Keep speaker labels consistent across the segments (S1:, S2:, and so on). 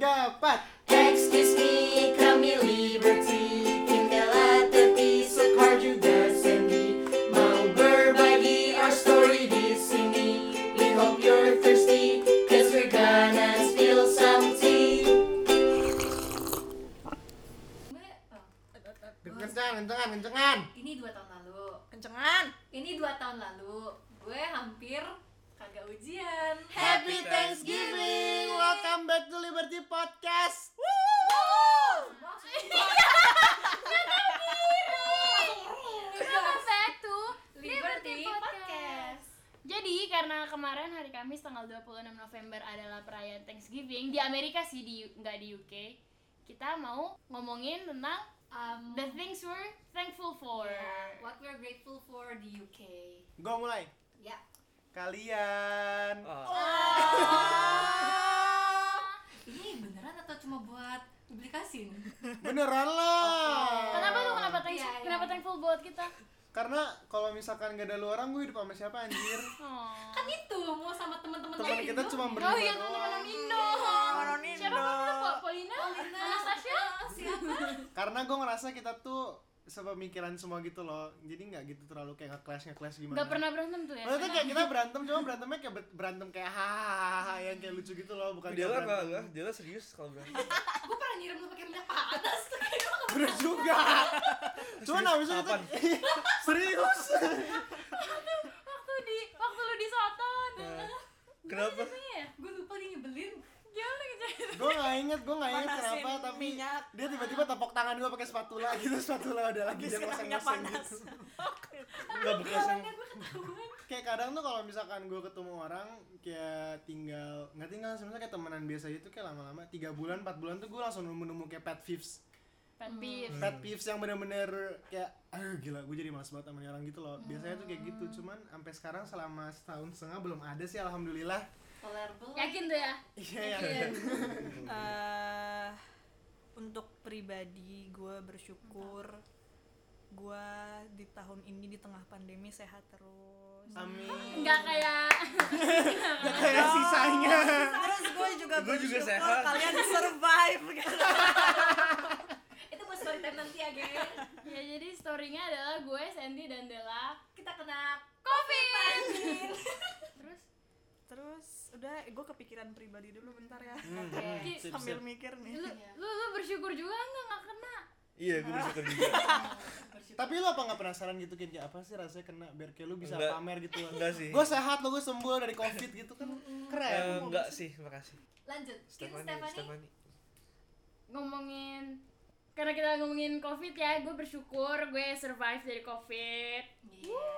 S1: dapat
S2: Excuse me, kami Liberty Tinggal tepi Sekar juga Sandy Mau berbagi our story di sini We hope you're thirsty Cause we're gonna spill some tea
S3: Mbak, oh,
S1: kencengan kencengan kencengan
S3: ini dua tahun lalu.
S4: kencengan
S3: Ini dua tahun lalu. Gue hampir kagak ujian. Iya,
S1: Happy Thanksgiving welcome back to Liberty Podcast
S3: Iya,
S5: Welcome back to
S3: Liberty Podcast.
S5: Jadi karena kemarin hari Kamis tanggal 26 November adalah perayaan Thanksgiving di Amerika sih di nggak di UK. Kita mau ngomongin tentang
S3: Um,
S5: the things we're thankful for.
S3: yeah, what we're grateful for di UK.
S1: gue mulai
S3: Ya.
S1: kalian
S6: Ah,
S3: Oh,
S2: Ah.
S3: Ini beneran atau cuma buat publikasi nih?
S1: beneran lah
S5: Kenapa tuh kenapa thanks,
S3: Iya, iya.
S5: kenapa thankful buat kita?
S1: karena kalau misalkan gak ada lu orang gue hidup sama siapa anjir
S5: Oh.
S3: Kan itu mau sama teman-teman
S1: teman
S3: lain
S1: kita
S3: dong.
S1: cuma
S5: Oh iya
S1: berdua
S5: teman-teman
S1: doang
S5: Nino.
S4: Teman-teman
S5: Siapa
S4: Nino.
S5: kamu Po- Polina?
S3: Polina.
S5: Anastasia?
S3: Oh, siapa?
S1: karena gue ngerasa kita tuh sepemikiran semua gitu loh jadi nggak gitu terlalu kayak nge-clash nge-clash gimana
S5: Gak pernah berantem tuh ya?
S1: Maksudnya kayak kita berantem, cuma berantemnya kayak ber- berantem kayak hahaha yang kayak lucu gitu loh, bukan
S6: Dela
S1: berantem.
S6: enggak, enggak, Dela serius kalau berantem
S3: Gue pernah nyiram lu pakai minyak panas.
S1: Bener juga. Cuman
S6: Serius?
S1: abis itu kita serius.
S5: Waktu di waktu lu di Soton.
S6: Nah, Kenapa?
S5: Iya.
S3: Gue lupa dia nyebelin. gitu?
S5: Gimana kejadian?
S1: gue nggak inget, gue nggak inget
S4: Panasin
S1: kenapa, tapi
S4: minyak.
S1: dia tiba-tiba tepok tangan gue pakai spatula gitu, spatula udah lagi dia
S4: Kena minyak
S1: ngoseng-ngoseng
S4: panas
S1: gitu.
S6: Enggak bekas yang
S3: Gue ketahuan.
S1: Kayak kadang tuh kalau misalkan gue ketemu orang kayak tinggal nggak tinggal sebenarnya kayak temenan biasa gitu kayak lama-lama tiga bulan empat bulan tuh gue langsung nemu-nemu kayak pet peeves
S5: Fan peeves.
S1: pet peeves yang bener-bener kayak aduh gila gue jadi malas banget sama nih orang gitu loh biasanya tuh kayak gitu cuman sampai sekarang selama setahun setengah belum ada sih alhamdulillah
S3: Tolerable.
S5: Yakin tuh ya?
S1: iya ya
S4: Eh, untuk pribadi gue bersyukur gue di tahun ini di tengah pandemi sehat terus
S1: Hmm. amin
S5: Enggak kayak
S1: gak kayak sisanya
S4: terus gue juga
S6: Gua juga
S4: bersyukur
S6: sehat.
S4: kalian survive gitu.
S3: Itu buat story time nanti ya, geng.
S5: ya jadi storynya adalah gue Sandy dan Della
S3: Kita kena
S5: covid terus
S4: terus udah gue kepikiran pribadi dulu bentar ya
S5: Ki,
S1: Hmm, Sip,
S4: sambil
S1: sip.
S4: mikir nih
S5: lu, lu lu bersyukur juga nggak nggak kena
S6: Iya, gue bersyukur juga
S1: tapi lo apa nggak penasaran gitu Kin? kayak apa sih rasanya kena biar kayak lo bisa
S6: Enggak.
S1: pamer gitu loh
S6: Enggak sih
S1: gue sehat lo gue sembuh dari covid gitu kan keren
S6: Eh, Enggak sih, makasih
S3: lanjut. Kin
S6: Stefani,
S3: Stefani.
S6: Stefani
S5: ngomongin karena kita ngomongin covid ya gue bersyukur gue survive dari covid
S3: Yeah.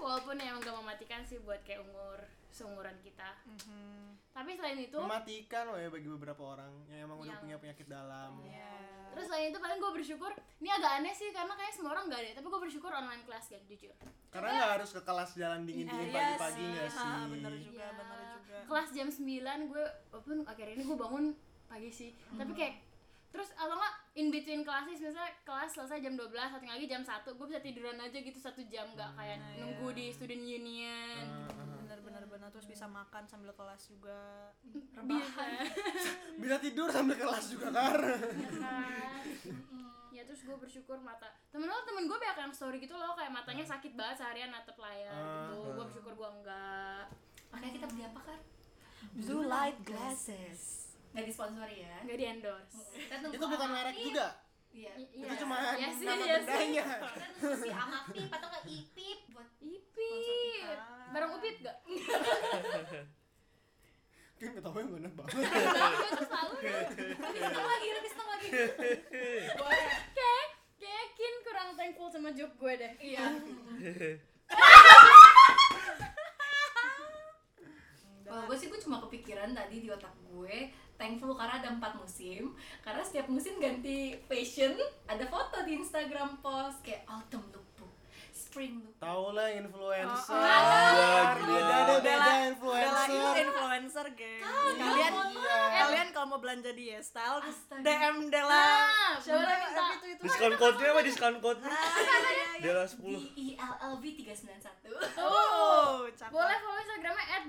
S5: Uh, walaupun emang gak mematikan sih buat kayak umur seumuran kita
S4: Mhm.
S5: tapi selain itu
S1: mematikan loh ya bagi beberapa orang yang emang udah
S5: Yang-
S1: punya penyakit dalam
S4: Ya.
S5: terus selain itu paling gue bersyukur ini agak aneh sih karena kayak semua orang gak ada tapi gue bersyukur online class kan jujur
S1: karena nggak harus ke kelas jalan dingin dingin
S4: Iya
S1: pagi-pagi
S4: sih.
S1: nggak
S4: Ha,
S1: sih
S4: bener juga
S5: Iya.
S4: bener juga
S5: kelas jam 9 gue walaupun akhirnya ini gue bangun pagi sih tapi kayak terus kalau nggak in between classes misalnya kelas selesai jam 12 satu lagi jam 1 gue bisa tiduran aja gitu satu jam nggak kayak nunggu di student
S1: Ah,
S5: union
S1: Hmm.
S4: bener bener bener terus bisa makan sambil kelas juga
S3: Rebahan.
S1: bisa tidur sambil kelas juga kan
S5: ya kan? ya terus gue bersyukur mata temen lo temen gue banyak yang story gitu loh kayak matanya
S1: Nah.
S5: sakit banget seharian natep layar
S1: Ah,
S5: gitu gue bersyukur gue enggak
S3: Makanya kita beli apa, Kar?
S4: blue light glasses
S3: Nggak disponsori ya.
S5: nggak di endorse
S3: Kita nunggu
S1: itu bukan
S3: Amapi.
S1: merek juga
S3: Iya.
S1: itu cuma nama
S5: iya
S1: bendanya
S3: Kita nunggu si Amapip atau nggak Ipip buat
S5: Ipip,
S4: Ah.
S5: barang upip gak?
S1: kan ketahuan gue enak banget
S5: Terus selalu deh.
S3: lebih seneng lagi, lebih seneng lagi.
S5: Kayak kayak Kin kurang thankful sama job gue deh.
S3: Iya. Kalau gue sih gue cuma kepikiran tadi di otak gue thankful karena ada empat musim karena setiap musim ganti fashion ada foto di Instagram post kayak autumn lookbook, spring lookbook.
S1: tahu lah influencer
S6: Wah,
S1: beda ada
S6: gila
S1: beda
S4: Bella itu
S1: influencer
S4: influencer, geng. Kalian
S1: iya
S4: kalian kalau mau belanja di YesStyle terus
S3: Astaga.
S4: DM Dela.
S5: Nah,
S4: Siapa
S5: boleh
S4: namanya?
S5: minta.
S4: Itu kan itu.
S6: Diskon code-nya apa diskon code-nya?
S4: Ah, iya, iya.
S6: Dela
S3: di
S6: 10.
S3: ILLB 391
S4: Oh, cakep.
S5: Boleh follow Instagramnya at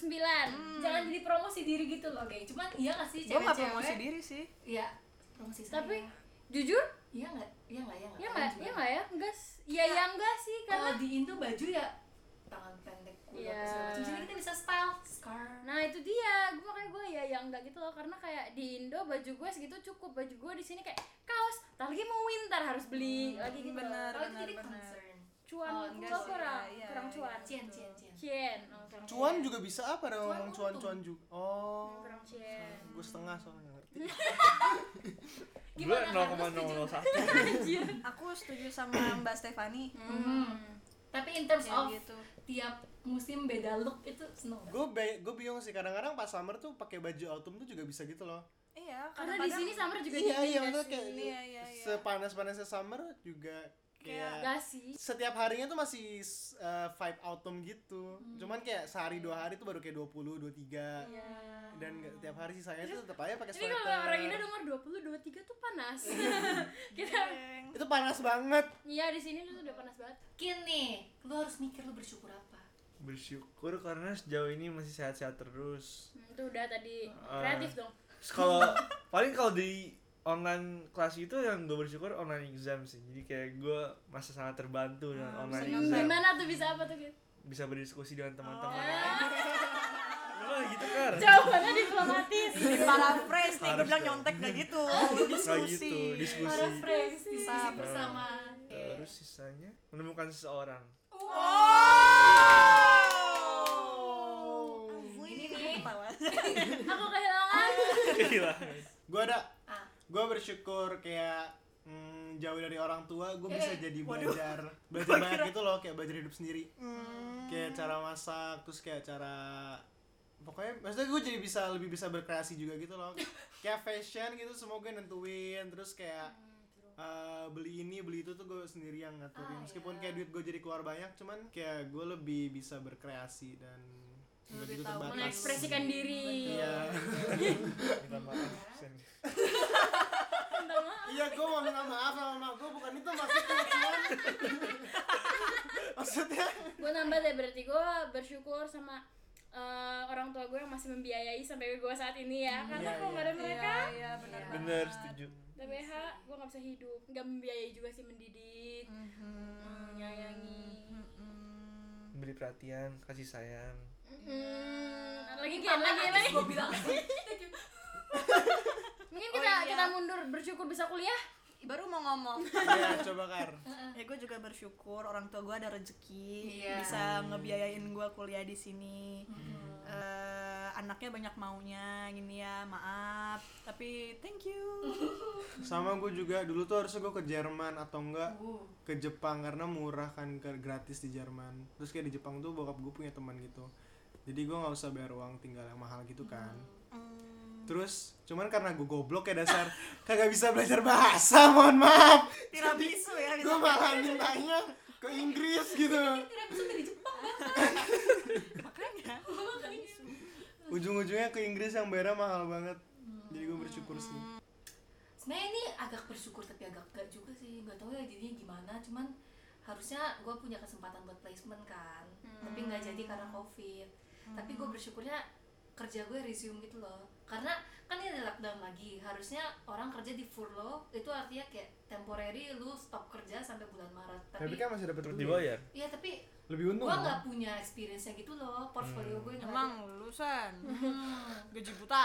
S1: Hmm.
S3: jangan jadi promosi diri gitu loh geng cuman iya gak sih
S4: Gue nggak
S3: cewek-cewek
S4: promosi diri sih.
S3: iya promosi saya.
S5: Tapi jujur,
S3: iya nggak iya nggak iya nggak
S5: ya nggak,
S3: Iya
S5: ya
S3: nggak?
S5: nggak ya, enggak, s- ya ya enggak sih
S3: kalau
S5: karena.
S3: di Indo baju ya tangan pendek kulit
S5: Iya.
S3: segala macam sini kita bisa style scarf
S5: Nah itu dia, gue makanya gue ya yang enggak gitu loh karena kayak di Indo baju gue segitu cukup baju gue di sini kayak kaos, tak lagi mau winter harus beli lagi gitu. loh.
S4: bener,
S3: kalau itu jadi
S4: bener.
S3: concern
S5: Cuan
S3: Oh,
S5: gue
S3: enggak sih,
S5: kurang,
S4: iya,
S5: kurang
S4: iya,
S5: cuan.
S3: cian cian cian
S5: Cien, oh, kurang
S1: Cuan
S5: cien.
S1: juga bisa apa ada ngomong
S3: untung.
S1: cuan-cuan juga. Oh.
S5: kurang cien.
S1: Gue setengah soalnya nggak ngerti.
S6: Gue
S3: Gimana, Kak? Lu setuju?
S6: 0,001.
S4: Aku setuju sama Mbak Stefani.
S3: Hmm. tapi in terms
S4: Kayak
S3: of
S4: gitu.
S3: tiap musim beda look itu seneng gak?
S1: Gue be- gue bingung sih kadang-kadang pas summer tuh pakai baju autumn tuh juga bisa gitu loh.
S4: Iya,
S5: Karena di sini
S4: kadang-kadang
S5: summer juga
S1: iya
S5: dingin
S1: iya
S5: nggak
S1: maksudnya
S5: sih?
S1: kayak
S4: Iya, iya, iya.
S1: sepanas-panasnya summer juga kayak
S5: Enggak sih.
S1: setiap harinya tuh masih eh, vibe autumn gitu. Cuman kayak sehari dua hari tuh baru kayak 20, 23.
S5: Iya.
S1: Dan nggak- tiap hari sisanya tuh tetap aja pakai
S5: Ini
S1: sweater.
S5: kalau orang Indo nomor 20 23 tuh panas. Kita
S4: Geng.
S1: Itu panas banget.
S5: iya di sini lu tuh udah panas banget.
S3: kini lu harus mikir lu bersyukur apa
S6: Bersyukur karena sejauh ini masih sehat-sehat terus.
S5: Hmm, itu udah tadi
S6: Ah.
S5: kreatif dong.
S6: Terus kalau paling kalau di online kelas itu yang gue bersyukur online exam sih. Jadi kayak gue masih sangat terbantu dengan online
S4: bisa
S6: exam.
S5: Gimana tuh bisa apa tuh? gitu? Kit?
S6: Bisa berdiskusi dengan teman-teman.
S4: Oh.
S6: lain.
S5: Ah,
S6: Memang gitu kan.
S5: Jawabannya diplomatis.
S4: Ini paraphrase nih, gue
S6: Harus
S4: bilang
S6: dong.
S4: nyontek gak gitu
S6: Kayak gitu,
S4: Diskusi
S6: diskusi.
S3: paraphrase diskusi
S4: Paham.
S3: bersama
S6: Terus sisanya menemukan seseorang.
S4: Oh Ini nih
S5: Aku kehilangan.
S6: Kehilangan.
S1: Gue ada
S3: Ah.
S1: gue bersyukur kayak mm, jauh dari orang tua gue bisa jadi
S4: waduh.
S1: belajar belajar banyak gitu loh kayak belajar hidup sendiri kayak cara masak terus kayak cara pokoknya maksudnya gue jadi bisa lebih bisa berkreasi juga gitu loh kayak fashion gitu semua gue nentuin terus kayak eh, beli ini beli itu tuh gue sendiri yang ngaturin
S3: Ah,
S1: meskipun
S3: iya.
S1: kayak duit gue jadi keluar banyak cuman kayak gue lebih bisa berkreasi dan nggak
S4: Lebih
S1: gitu
S4: tahu
S1: terbatas.
S5: Mengekspresikan diri.
S1: iya
S6: Minta maaf. Sen.
S5: Minta maaf.
S1: iya gue mau minta maaf sama mak gue bukan itu maksudnya cuman maksudnya
S5: Gue nambah deh berarti gue bersyukur sama eh, orang tua gue yang masih membiayai sampai gue saat ini ya. Karena
S1: Iya,
S5: kalau nggak ada mereka,
S4: Iya bener banget.
S6: Bener, setuju.
S5: TBH gue nggak bisa hidup. Nggak membiayai juga sih mendidik,
S4: Mm-hmm.
S5: menyayangi.
S6: Beri perhatian, kasih sayang.
S5: Mm, lagi Kian, lagi lagi.
S3: gue bilang sih
S5: Mungkin
S4: Oh,
S5: kita
S4: iya.
S5: kita mundur bersyukur bisa kuliah.
S4: Baru mau ngomong
S1: ya coba kar
S4: Ya gue juga bersyukur orang tua gue ada rezeki
S3: Iya.
S4: Bisa ngebiayain gue kuliah di sini Eh, Anaknya banyak maunya gini ya maaf Tapi thank you
S1: sama gue juga dulu tuh harusnya gue ke Jerman atau enggak
S3: Uh.
S1: ke Jepang karena murah kan ke gratis di Jerman terus kayak di Jepang tuh bokap gue punya teman gitu jadi gue nggak usah bayar uang tinggal yang mahal gitu kan
S4: Hmm,
S1: terus cuman karena gue goblok ya dasar kagak bisa belajar bahasa mohon maaf
S4: Tiramisu ya
S1: gue malah mintanya ke Inggris gitu
S3: tidak bisa dari Jepang
S4: Makanya
S1: ujung-ujungnya ke Inggris yang bayarnya mahal banget jadi gue bersyukur sih
S3: sebenarnya ini agak bersyukur tapi agak enggak juga sih nggak tahu ya jadinya gimana cuman harusnya gue punya kesempatan buat placement kan tapi nggak jadi karena covid tapi gue bersyukurnya kerja gue resume gitu loh karena kan ini ada lockdown lagi harusnya orang kerja di furlough itu artinya kayak temporary lu stop kerja sampai bulan maret tapi
S1: kan masih dapat
S6: Terus dibayar.
S3: iya tapi
S1: lebih
S3: gue nggak punya experience nya gitu loh portfolio gue nggak ada.
S4: Emang lulusan
S3: Hmm.
S4: gaji buta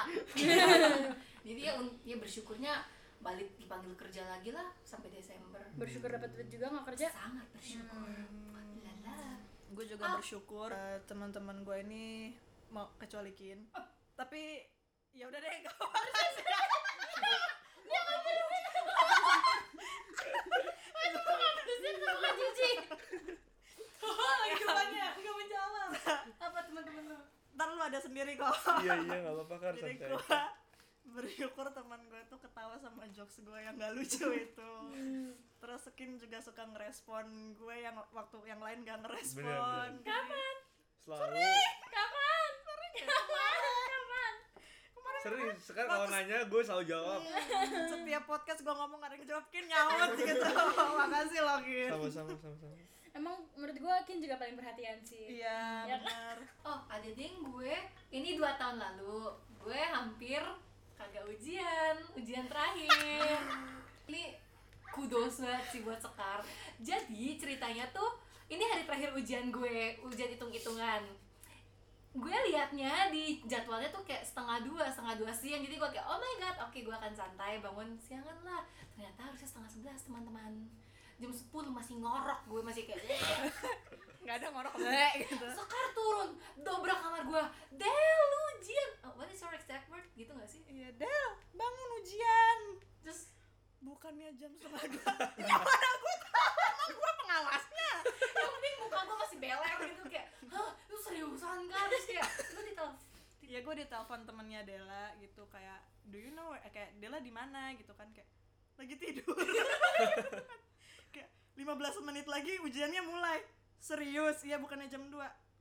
S3: jadi ya, un- ya bersyukurnya balik dipanggil kerja lagi lah sampai Desember
S5: Bersyukur dapat duit juga nggak kerja.
S3: sangat bersyukur Lala.
S4: gue juga bersyukur eh, teman-teman gue ini mau kecuali Kin tapi ya udah deh gak apa-apa.
S3: jawabannya nggak menjawab apa teman-teman lu
S4: ntar lu ada sendiri kok
S6: Iya iya nggak apa-apa kan
S4: jadi
S6: santai.
S4: gue bersyukur teman gue tuh ketawa sama jokes gue yang gak lucu itu terus Kin juga suka ngerespon gue yang waktu yang lain gak
S6: Bener,
S4: ngerespon kapan
S6: Selalu.
S5: Kapan? Kapan? Kapan?
S4: kemarin
S6: serius sekarang kalau nanya gue selalu jawab
S4: Iya. Setiap podcast gue ngomong gak ada yang ngejawab, Kin nyawet gitu Makasih loh Kin
S6: sama sama sama sama
S5: Emang menurut gue Kin juga paling perhatian sih.
S4: Iya
S5: Iya.
S4: benar.
S3: Oh, ada ding gue. Ini dua tahun lalu gue hampir kagak ujian, ujian terakhir. ini kudos banget sih buat Sekar. Jadi ceritanya tuh ini hari terakhir ujian gue, ujian hitung-hitungan. Gue liatnya di jadwalnya tuh kayak setengah dua, setengah dua siang Jadi gue kayak, oh my god, oke gue akan santai, bangun siangan lah Ternyata harusnya setengah sebelas teman-teman Jam 10 masih ngorok, gue masih kayak
S4: Gak ada ngorok le gitu
S3: Sekar turun, dobrak kamar gua. Delujian. Oh, what is your exact word? Gitu gak sih?
S4: Iya Del, bangun ujian
S3: Terus
S4: Bukannya jam setengah dua Ya mana gue tau, emang gue pengawasnya
S3: yang penting muka gua masih beler gitu kayak, "Hah, lu seriusan kan?" Terus kayak, "Lu ditelepon."
S4: Ya gue ditelepon temennya Dela gitu kayak Do you know, eh, kayak Dela di mana gitu kan kayak Lagi tidur Kayak 15 menit lagi ujiannya mulai Serius, iya bukannya jam 2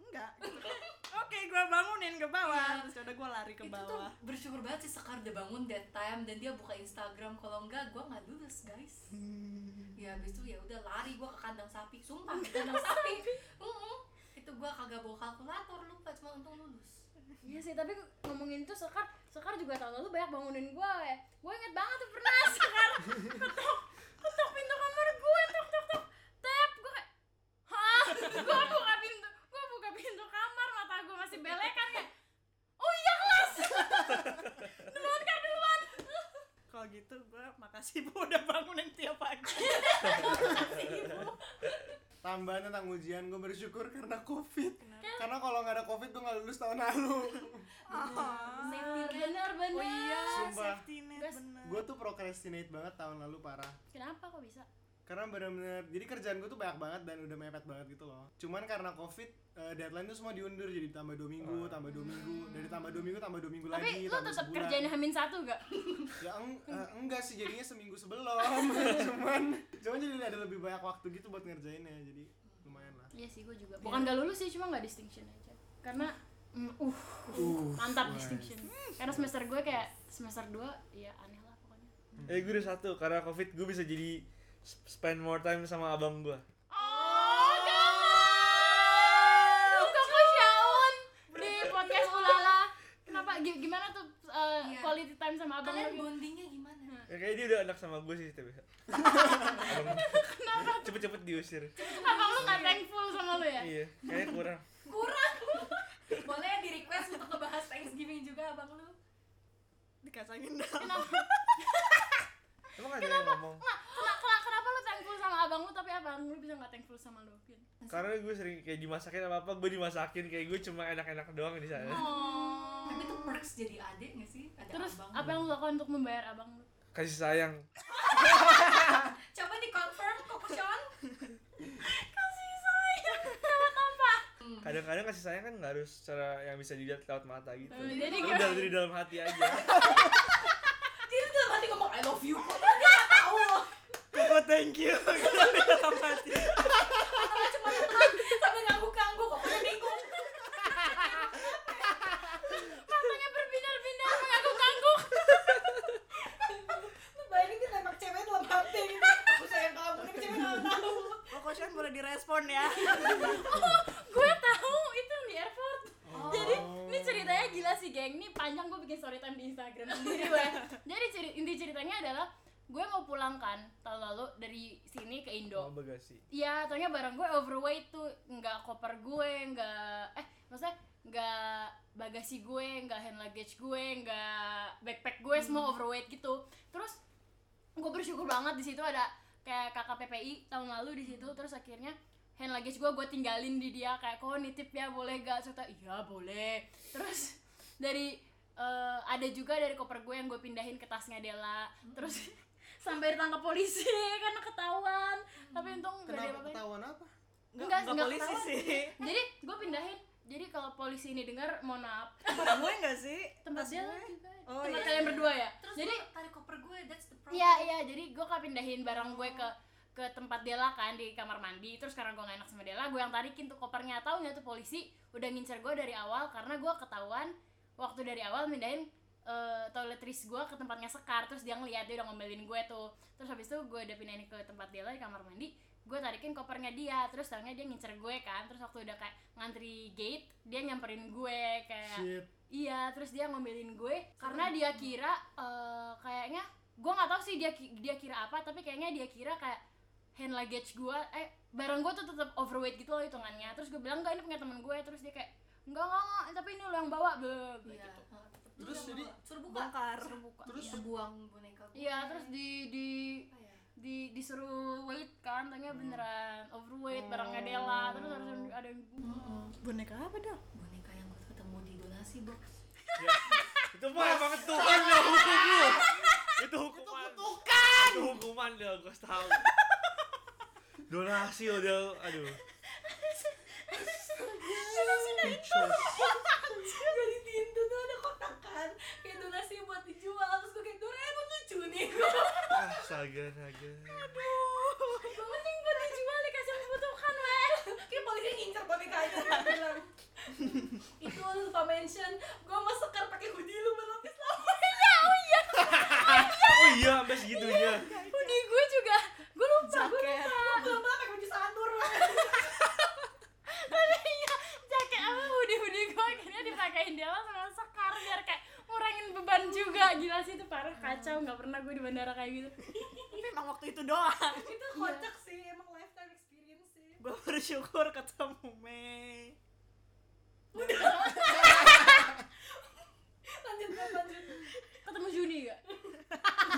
S4: Enggak gitu. Oke gue bangunin ke bawah
S3: Iya.
S4: Terus udah gue lari ke
S3: Itu tuh
S4: bawah
S3: bersyukur banget sih Sekar udah bangun that time dan dia buka Instagram kalau enggak gua nggak lulus, guys.
S4: Hmm.
S3: Ya habis itu ya udah lari gua ke kandang sapi. Sumpah, ke kandang sapi. Mm-mm. Itu gua kagak bawa kalkulator lupa cuma untung lulus.
S5: Iya sih, tapi ngomongin tuh Sekar, Sekar juga tahun lalu banyak bangunin gue ya. Gue inget banget tuh pernah Sekar ketok, ketok pintu kamar gue, tok tok tok, tap, gue kayak, hah, gue buka pintu, gue buka pintu kamar, mata gue masih belekan ya. Oh iya kelas, duluan kan duluan.
S4: Kalau gitu gue makasih bu udah bangunin tiap pagi
S1: Tambahan tentang ujian gue bersyukur karena covid.
S5: Kan-
S1: Karena kalau nggak ada covid gue nggak lulus tahun lalu.
S3: Safety net.
S5: Bener bener.
S4: Oh iya,
S1: Sumpah.
S4: safety net
S5: Gas.
S4: bener.
S1: gue tuh procrastinate banget tahun lalu parah.
S5: Kenapa kok bisa?
S1: Karena bener-bener, jadi kerjaan gue tuh banyak banget dan udah mepet banget gitu loh Cuman karena covid, eh, deadline tuh semua diundur Jadi tambah 2 minggu, tambah 2 minggu Dari tambah 2 minggu, tambah 2 minggu
S5: Tapi
S1: lagi,
S5: lu
S1: tambah
S5: tetap
S1: sebulan.
S5: kerjain hamin satu gak?
S1: Ya eng- eh, enggak sih, jadinya seminggu sebelum Cuman, cuman jadi ada lebih banyak waktu gitu buat ngerjainnya Jadi lumayan lah
S5: Iya sih, gue juga. Bukan gak lulus sih, cuma gak distinction aja. Karena, mm, uh, mantap distinction. Karena semester gue kayak semester 2 ya aneh lah pokoknya.
S6: eh gue udah satu karena covid gue bisa jadi sp- spend more time sama abang gue
S5: Oh, jangan! Luka kok Shaun di podcast Ulala. Kenapa? Gi- Gimana tuh uh,
S3: Iya.
S5: quality time sama abang?
S3: Kalian
S5: lu?
S3: bondingnya
S4: Hmm.
S3: gimana?
S6: ya, kayaknya dia udah anak sama gue sih tapi Abang- cepet-cepet diusir
S5: Abang lu gak thankful sama lu ya?
S6: iya kayaknya kurang
S3: kurang boleh di request untuk ngebahas Thanksgiving juga abang lu
S4: Dikasangin dalam.
S6: emang ada yang ngomong
S5: Kenapa, kenapa, kenapa lu thankful sama abang lu tapi abang lu bisa gak thankful sama lu? Vin?
S6: karena gue sering kayak dimasakin apa apa gue dimasakin kayak gue cuma enak-enak doang di sana
S5: Oh.
S3: tapi itu perks jadi adik nggak sih ada
S5: Terus
S3: Ya, abang
S5: apa yang lu lakukan untuk membayar abang lu?
S6: kasih sayang
S3: coba di confirm Koko Sean
S6: kadang-kadang kasih sayang kan nggak harus cara yang bisa dilihat lewat mata gitu
S5: Eh, Jadi
S6: Lu
S5: gimana?
S6: dari, dari dalam hati aja
S3: dia tuh nanti ngomong I love you kok dia nggak tahu
S4: Koko thank you. Dalam hati.
S3: Tapi cuma teman sambil ngangguk ngangguk kok udah bingung
S5: Matanya berbinar-binar mengangguk-angguk.
S2: Bayangin kita emang cewek dalam hati gitu. Aku sayang kamu, ini cewek dalam hati.
S4: Koko Sean kan boleh direspon ya.
S5: gue tahu itu yang di airport
S1: Oh.
S5: jadi ini ceritanya gila sih geng ini panjang gue bikin story time di instagram sendiri gue jadi ceri- inti ceritanya adalah gue mau pulang kan tahun lalu dari sini ke
S6: mau
S5: indo
S6: bagasi
S5: Iya, taunya barang gue overweight tuh nggak koper gue nggak eh maksudnya nggak bagasi gue nggak hand luggage gue nggak backpack gue
S1: Hmm.
S5: semua overweight gitu terus gue bersyukur banget di situ ada kayak kakak PPI tahun lalu di
S1: Hmm.
S5: situ terus akhirnya hand luggage gue gue tinggalin di dia kayak kok nitip ya boleh gak cerita iya boleh terus dari eh, ada juga dari koper gue yang gue pindahin ke tasnya Della
S1: Hmm.
S5: terus sampai ditangkap polisi karena ketahuan tapi untung gak ada
S1: Hmm. Kenapa
S5: apa-apa
S1: ketahuan apa?
S5: Enggak, enggak
S4: polisi
S5: ketahuan.
S4: sih.
S5: jadi gue pindahin jadi kalau polisi ini dengar mohon maaf
S4: Tempat gue enggak sih?
S5: tempat
S4: Tas
S5: dia
S4: gue.
S5: lagi guys.
S4: Oh,
S5: tempat
S4: iya.
S5: kalian berdua ya
S3: terus
S5: jadi
S3: jadi tarik koper gue that's the problem
S5: Iya iya jadi gue kan pindahin barang gue ke ke tempat Della kan di kamar mandi terus karena gue gak enak sama Della gue yang tarikin tuh kopernya tahu nggak tuh polisi udah ngincer gue dari awal karena gue ketahuan waktu dari awal mindahin eh, toiletries gue ke tempatnya Sekar terus dia ngeliat dia udah ngomelin gue tuh terus habis itu gue udah pindahin ke tempat dia lah di kamar mandi gue tarikin kopernya dia terus taunya dia ngincer gue kan terus waktu udah kayak ngantri gate dia nyamperin gue kayak
S1: Shit.
S5: Iya, terus dia ngomelin gue karena dia kira eh, kayaknya gue nggak tahu sih dia ki- dia kira apa, tapi kayaknya dia kira kayak hand luggage gue, eh barang gue tuh tetap overweight gitu loh hitungannya. Terus gue bilang enggak ini punya temen gue, terus dia kayak enggak enggak, enggak, tapi ini lo yang bawa blah, blah,
S3: Iya.
S5: gitu.
S3: ah, tetep tuh
S1: Terus
S3: yang
S1: jadi-
S3: bawa. suruh buka.
S4: bongkar
S5: Terus buka.
S1: Terus-
S5: iya.
S3: Suruh buang boneka gue.
S5: Iya, terus di di
S3: Apa ya?
S5: di disuruh wait kan, tanya beneran overweight barangnya Della, terus harus ada yang
S4: Hmm, boneka apa dong
S3: boneka yang gue ketemu di donasi box.
S6: Ya. itu mah emang tuhan ya hukum lu itu hukuman itu hukuman itu hukuman dia gue tahu donasi udah aduh
S3: Jadi di Indo tuh ada kotak kan kayak donasi buat dijual terus gue kayak Doraemon lucu nih gue
S6: astaga astaga
S3: mending buat dijual dikasih yang dibutuhkan weh kayak polisi ngincer boneka aja gue bilang itu lu lupa mention gue mau sekar pakai hoodie lu berlapis lapis
S6: oh iya sampai segitunya
S5: Udah gue juga, gue lupa, gue
S4: Jaket.
S5: lupa.
S3: belum-belum pakai baju sanur weh
S5: Iya, jaket apa hoodie-hoodie gue akhirnya dipakein dia sama Sekar biar kayak ngurangin beban juga gila sih itu parah kacau nggak pernah gue di bandara kayak gitu
S4: tapi emang waktu itu doang
S3: itu kocak sih emang lifetime experience sih
S4: gue bersyukur ketemu Mei
S3: lanjut Beb, lanjut
S5: ketemu Juni gak?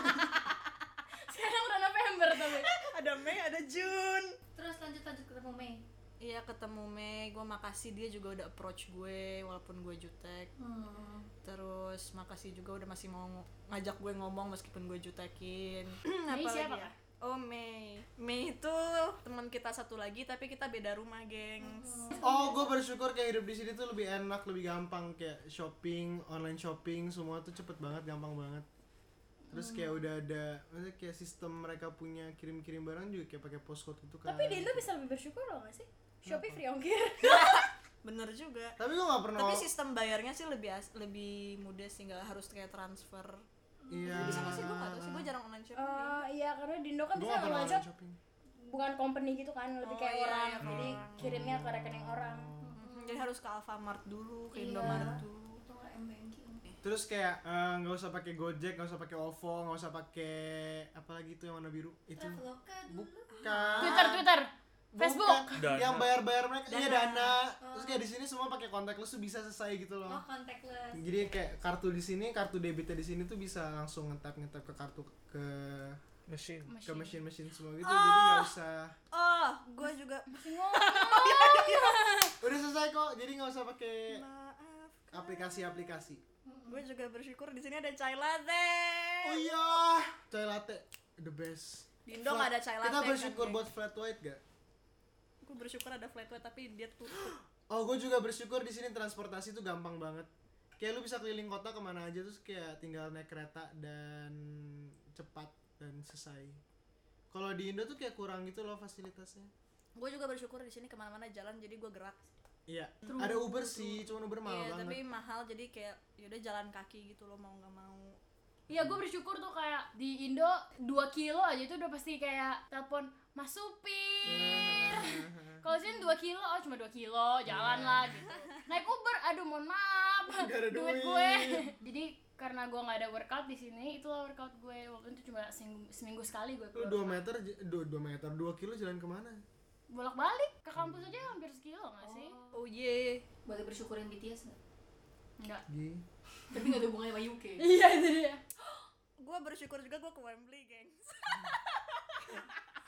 S5: sekarang udah November tapi
S4: ada Mei ada Jun
S3: terus lanjut lanjut ketemu Mei
S4: iya ketemu Mei gue makasih dia juga udah approach gue walaupun gue jutek
S3: hmm.
S4: terus makasih juga udah masih mau ng- ngajak gue ngomong meskipun gue jutekin
S5: Mei
S4: Apalagi
S5: siapa,
S4: ya?
S5: Kak?
S4: Oh Mei, Mei itu teman kita satu lagi tapi kita beda rumah, gengs.
S1: Oh, gue bersyukur kayak hidup di sini tuh lebih enak, lebih gampang kayak shopping, online shopping, semua tuh cepet banget, gampang banget. Terus kayak
S4: Hmm.
S1: udah ada, maksudnya kayak sistem mereka punya kirim-kirim barang juga kayak pakai postcode gitu kan.
S5: tapi di Indo bisa lebih bersyukur loh gak sih? Shopee free ongkir
S4: Bener juga.
S1: Tapi gue gak pernah.
S4: Tapi
S1: ngom-
S4: sistem bayarnya sih lebih as- lebih mudah sih nggak harus kayak transfer.
S1: Iya.
S4: Bisa nggak sih gue nggak tahu sih gue jarang online shopping.
S5: Eh, iya karena di Indo kan
S1: Gue
S5: bisa
S1: gak pernah
S5: online
S1: online
S5: shop
S1: shopping.
S5: bukan company gitu kan lebih
S4: Oh,
S5: kayak
S4: iya,
S5: orang
S4: iya,
S5: jadi kirimnya ke rekening orang
S4: Mhm, Jadi harus ke Alfamart dulu, ke
S3: Iya.
S4: Indomaret dulu.
S3: itu nggak banking
S1: Terus kayak eh, nggak usah pakai Gojek, nggak usah pakai OVO, nggak usah pakai apa lagi tuh yang warna biru itu.
S3: Traveloka dulu
S1: Bukan.
S5: Twitter Twitter
S1: Bukan.
S5: Facebook
S6: Dana.
S1: Yang bayar-bayar mereka iya
S4: Dana. Oh.
S1: dana. Terus kayak di sini semua pakai contactless tuh bisa selesai gitu loh.
S3: oh contactless
S1: Jadi kayak kartu di sini, kartu debitnya di sini tuh bisa langsung ngetap ngetap ke kartu ke
S6: mesin
S1: ke mesin-mesin semua gitu. Jadi
S4: Ah!
S1: nggak usah.
S4: Oh, gue juga
S1: Udah selesai kok. Jadi nggak usah pakai
S4: maaf.
S1: aplikasi-aplikasi.
S4: Gue juga bersyukur di sini ada chai latte.
S1: Oh iya, coy latte the best.
S4: Di Indo nggak ada chai latte.
S1: Kita
S4: kan,
S1: bersyukur
S4: geng?
S1: buat flat white gak?
S4: Gue bersyukur ada flat white tapi dia tutup.
S1: Oh, gue juga bersyukur di sini transportasi tuh gampang banget. Kayak lu bisa keliling kota kemana aja terus kayak tinggal naik kereta dan cepat dan selesai. Kalau di Indo tuh kayak kurang gitu loh fasilitasnya.
S4: gue juga bersyukur di sini kemana-mana jalan jadi gue gerak
S1: Iya, ada Uber sih, cuman Uber mahal
S4: Iya,
S1: banget.
S4: tapi mahal jadi kayak yaudah jalan kaki gitu loh mau nggak mau
S5: Iya gue bersyukur tuh kayak di Indo 2 kilo aja itu udah pasti kayak telepon Mas supir Kalau sini 2 kilo, oh cuma 2 kilo, jalan
S1: Iya.
S5: lah gitu Naik Uber, aduh mohon maaf
S1: Nggak ada duit.
S5: gue Jadi karena gue gak ada workout di sini, itulah workout gue Walaupun itu cuma seminggu, seminggu sekali gue
S1: Lu 2 meter, 2, meter, 2 kilo jalan kemana?
S5: Bolak-balik, ke kampus aja hampir sekilo gak sih?
S4: oh ye
S3: boleh bersyukurin BTS nggak
S5: Enggak
S1: Gih.
S3: tapi nggak ada hubungannya sama UK
S5: Iya itu dia
S4: gue bersyukur juga gue ke Wembley gengs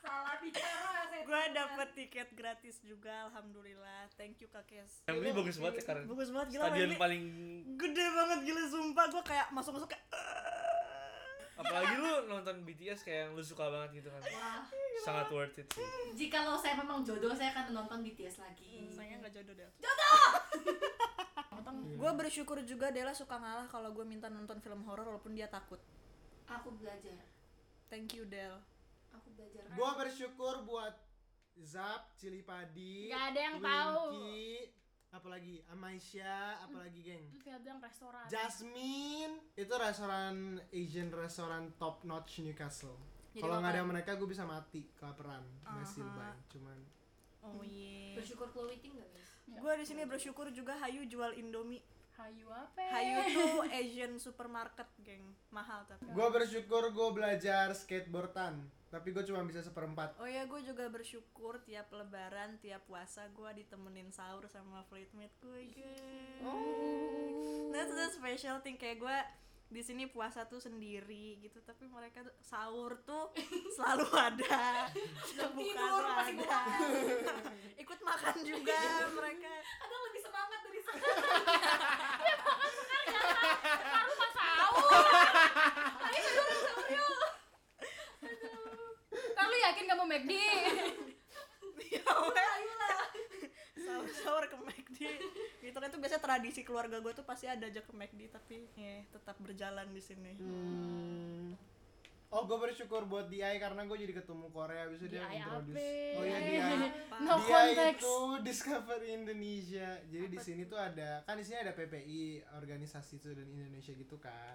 S3: salah bicara saya
S4: gue dapet tiket gratis juga alhamdulillah thank you kakes
S6: yang ini bagus banget ya karena
S4: bagus banget gila
S6: stadion
S4: Wembley
S6: paling
S4: gede banget gila sumpah gue kayak masuk masuk kayak "Eh."
S6: apalagi lu nonton BTS kayak yang lu suka banget gitu kan
S3: wah
S6: sangat worth it sih
S3: jikalau saya memang jodoh saya akan menonton BTS lagi
S4: sayangnya nggak jodoh deh jodoh gue bersyukur juga Della suka ngalah kalau gue minta nonton film horor walaupun dia takut
S3: aku belajar
S4: thank you Del
S3: aku belajar kan.
S1: Gua bersyukur buat Zap, Cili Padi,
S5: Nggak ada yang
S1: Winky, apalagi Amaisha apalagi geng
S5: Terus tinggal bilang restoran.
S1: Jasmine itu restoran Asian restoran top notch Newcastle
S4: Jadi
S1: kalau nggak ada
S4: makan.
S1: mereka gue bisa mati kelaparan nggak
S4: Aha.
S1: silbay cuman
S4: Oh iya.
S3: bersyukur Chloe tinggal guys
S4: Gue di sini bersyukur juga Hayu jual Indomie.
S5: Hayu apa? ya?
S4: Hayu tuh Asian supermarket, geng. Mahal tapi.
S1: gue bersyukur gue belajar skateboardan tapi gue cuma bisa seperempat
S4: Oh ya, gue juga bersyukur tiap lebaran, tiap puasa gue ditemenin sahur sama flatmate gue, geng. That's the special thing kayak gue di sini puasa tuh sendiri gitu, tapi mereka tuh sahur tuh selalu ada. Buka
S3: tidur,
S4: tuh
S3: masih
S4: ada. Ikut makan juga mereka.
S3: kadang lebih semangat dari sekarang
S5: Aku pas tahu. Kan lu yakin kamu McD?
S4: ya ayolah sahur-sahur ke McD gitu kan itu biasanya tradisi keluarga gue tuh pasti ada aja ke McD tapi ya tetap berjalan di sini
S1: oh gue bersyukur buat DI karena gue jadi ketemu Korea abis itu dia
S5: DI
S1: introduce
S5: apa?
S1: oh iya dia
S5: No
S1: dia
S5: context.
S1: itu Discover Indonesia. Jadi di sini tuh ada kan di sini ada PPI organisasi itu dan Indonesia gitu kan.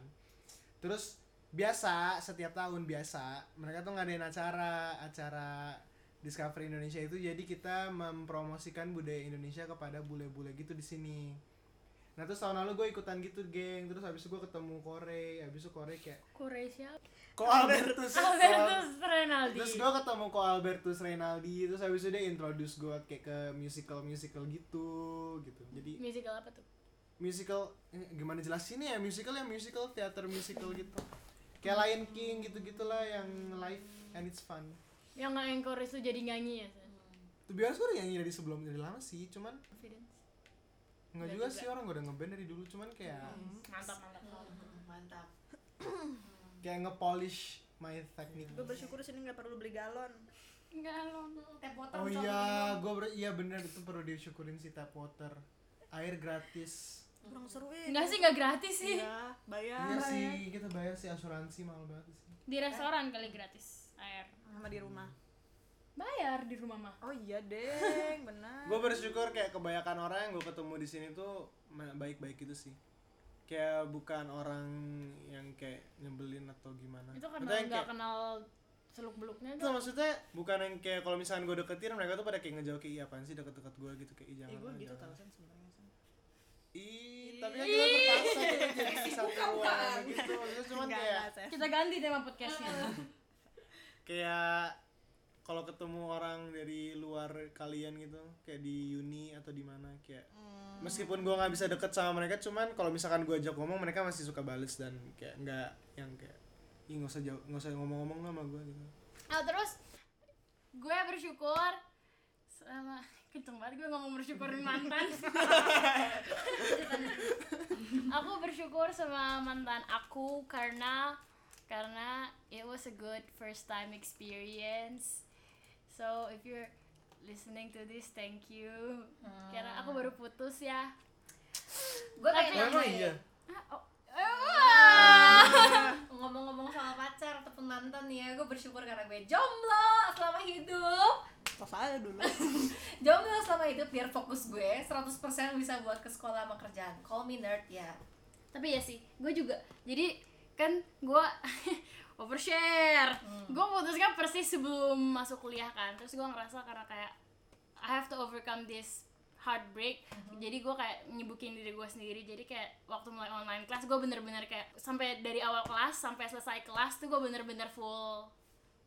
S1: Terus biasa setiap tahun biasa mereka tuh ngadain acara acara Discover Indonesia itu jadi kita mempromosikan budaya Indonesia kepada bule-bule gitu di sini. Nah terus tahun lalu gue ikutan gitu geng Terus habis itu gue ketemu Korea Habis itu Korea kayak
S5: Korea.
S1: Ko Albertus
S5: Albertus Renaldi.
S1: Terus gue ketemu ko Albertus Reynaldi Terus habis itu dia introduce gue kayak ke musical-musical gitu gitu Jadi
S5: Musical apa tuh?
S1: musical, eh, gimana jelasinnya ya musical ya musical, teater musical gitu Kayak Lion King gitu-gitulah yang live and it's fun
S5: Yang nggak encourage tuh jadi nyanyi ya? San?
S1: Tuh biasa gue udah nyanyi dari sebelum dari lama sih Cuman
S5: Confidence.
S1: nggak juga, sih orang gue udah ngeband dari dulu Cuman kayak
S4: Iya.
S5: Mantap mantap.
S3: mantap
S1: kayak nge-polish my technique
S4: gue bersyukur di sini nggak perlu beli galon
S5: Enggak lo.
S3: Hmm, teh botol
S1: Oh
S3: soalnya.
S1: iya, gue ber- iya bener itu perlu disyukurin sih tap water Air gratis
S4: kurang seru ya
S5: Enggak sih enggak gratis sih.
S4: Iya, bayar
S1: Iya sih, kita bayar sih asuransi mahal banget sih.
S5: Di restoran kali gratis air.
S4: sama di rumah
S5: Bayar di rumah mah.
S4: oh iya deng benar
S1: Gue bersyukur kayak kebanyakan orang yang gue ketemu di sini tuh ma- baik-baik gitu sih. Kayak bukan orang yang kayak nyebelin atau gimana.
S5: Itu karena
S1: Maksudnya yang
S5: nggak
S1: kayak-
S5: kenal seluk beluknya
S1: itu
S5: tuh.
S1: maksudnya bukan yang kayak kalau misalnya gue deketin mereka tuh pada kayak ngejauh kayak iya apaan sih deket-deket gue gitu kayak "Ih, jangan
S4: Ih, gue
S1: lah,
S4: gitu
S1: jangan."
S4: tau sen sebenarnya Sen.
S1: Ih, tapi kan kita terpaksa kita jadi satu ruangan gitu. Maksudnya cuman
S4: Nggak,
S1: kayak
S4: nggak, Sen.
S5: Kita ganti tema podcastnya.
S1: kayak kalau ketemu orang dari luar kalian gitu kayak di uni atau di mana kayak meskipun gua nggak bisa deket sama mereka cuman kalau misalkan gua ajak ngomong mereka masih suka bales dan kayak nggak yang kayak Ih, nggak usah jauh, nggak usah ngomong-ngomong lah sama gua gitu.
S5: Nah terus gue bersyukur sama kenceng banget gue ngomong bersyukurin mantan. aku bersyukur sama mantan aku karena karena it was a good first time experience. So if you're listening to this, thank you. Karena aku baru putus ya.
S3: gue
S5: Tapi-
S3: pengen
S1: Emang
S3: nanya,
S1: iya.
S5: Ah, oh.
S3: ngomong-ngomong soal pacar ataupun mantan ya gue bersyukur karena gue jomblo selama hidup
S4: Tos aja dulu
S3: jomblo selama hidup biar fokus gue 100% bisa buat ke sekolah sama kerjaan call me nerd ya
S5: tapi ya sih gue juga jadi kan gue overshare
S3: Hmm.
S5: gue putuskan persis sebelum masuk kuliah kan terus gue ngerasa karena kayak I have to overcome this heartbreak
S3: Hmm.
S5: jadi gue kayak nyibukin diri gue sendiri jadi kayak waktu mulai online kelas gue bener-bener kayak sampai dari awal kelas sampai selesai kelas tuh gue bener-bener full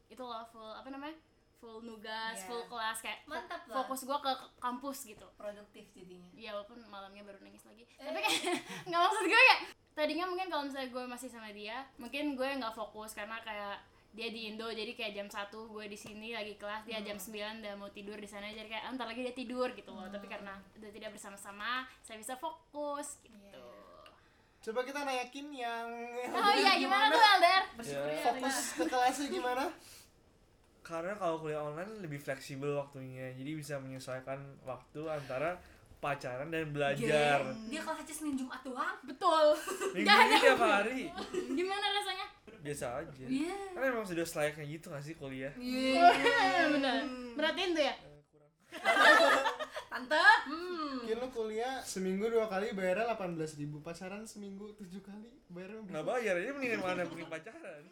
S5: itu loh full apa namanya full nugas
S3: Iya.
S5: full kelas kayak fo-
S3: Mantap lah.
S5: fokus gue ke ke kampus gitu
S3: produktif jadinya
S5: Iya walaupun malamnya baru nangis lagi
S4: Eh.
S5: Tapi kayak nggak maksud gue kayak Tadinya mungkin kalau misalnya gue masih sama dia Mungkin gue nggak fokus karena kayak dia di Indo jadi kayak jam 1 gue di sini lagi kelas dia
S4: Hmm.
S5: jam 9 udah mau tidur di sana jadi kayak "Ah, ntar lagi dia tidur gitu loh tapi
S4: Hmm.
S5: karena udah tidak bersama-sama saya bisa fokus gitu
S1: Coba kita nayakin yang
S5: oh iya gimana tuh Elder
S3: bersyukur ya,
S6: Ya.
S1: fokus ke kelasnya gimana?
S6: karena kalau kuliah online lebih fleksibel waktunya jadi bisa menyesuaikan waktu antara pacaran dan belajar
S3: Geng. dia kelas aja senin jumat doang
S5: betul
S6: minggu
S5: Jangan.
S6: ini tiap hari
S5: gimana rasanya
S6: biasa aja
S3: Iya.
S6: karena emang sudah selayaknya
S4: Hmm.
S6: gitu gak sih kuliah
S5: Eh, benar berarti itu
S6: Eh,
S5: ya
S6: kurang
S3: tante hmm
S1: Mungkin lu kuliah seminggu dua kali bayarnya 18.000 ribu Pacaran seminggu tujuh kali bayarnya
S6: nggak
S1: berapa?
S6: bayar ini mendingan mana mending pacaran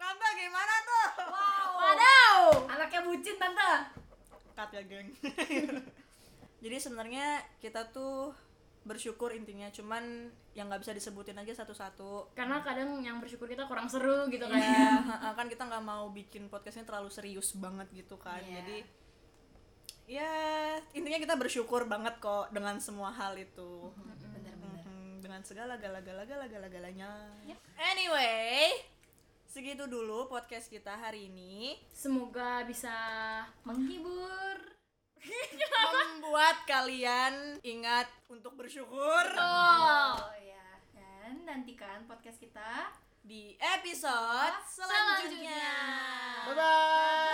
S4: Tante gimana tuh?
S3: wow
S5: Wadaw!
S3: anaknya bucin tante
S4: Cut ya geng Jadi sebenarnya kita tuh bersyukur intinya cuman yang nggak bisa disebutin aja satu-satu
S5: Karena kadang yang bersyukur kita kurang seru gitu kan.
S4: Iya, ha-ha, kan kita nggak mau bikin podcastnya terlalu serius banget gitu kan
S3: Iya.
S4: jadi ya intinya kita bersyukur banget kok dengan semua hal itu
S3: bener-bener
S4: Mhm, dengan segala gala gala gala gala galanya anyway segitu dulu podcast kita hari ini
S5: Semoga bisa
S3: menghibur
S4: membuat kalian ingat untuk bersyukur
S5: Oh.
S3: oh ya dan nantikan podcast kita
S4: di episode selanjutnya,
S3: Selanjutnya.
S1: Bye-bye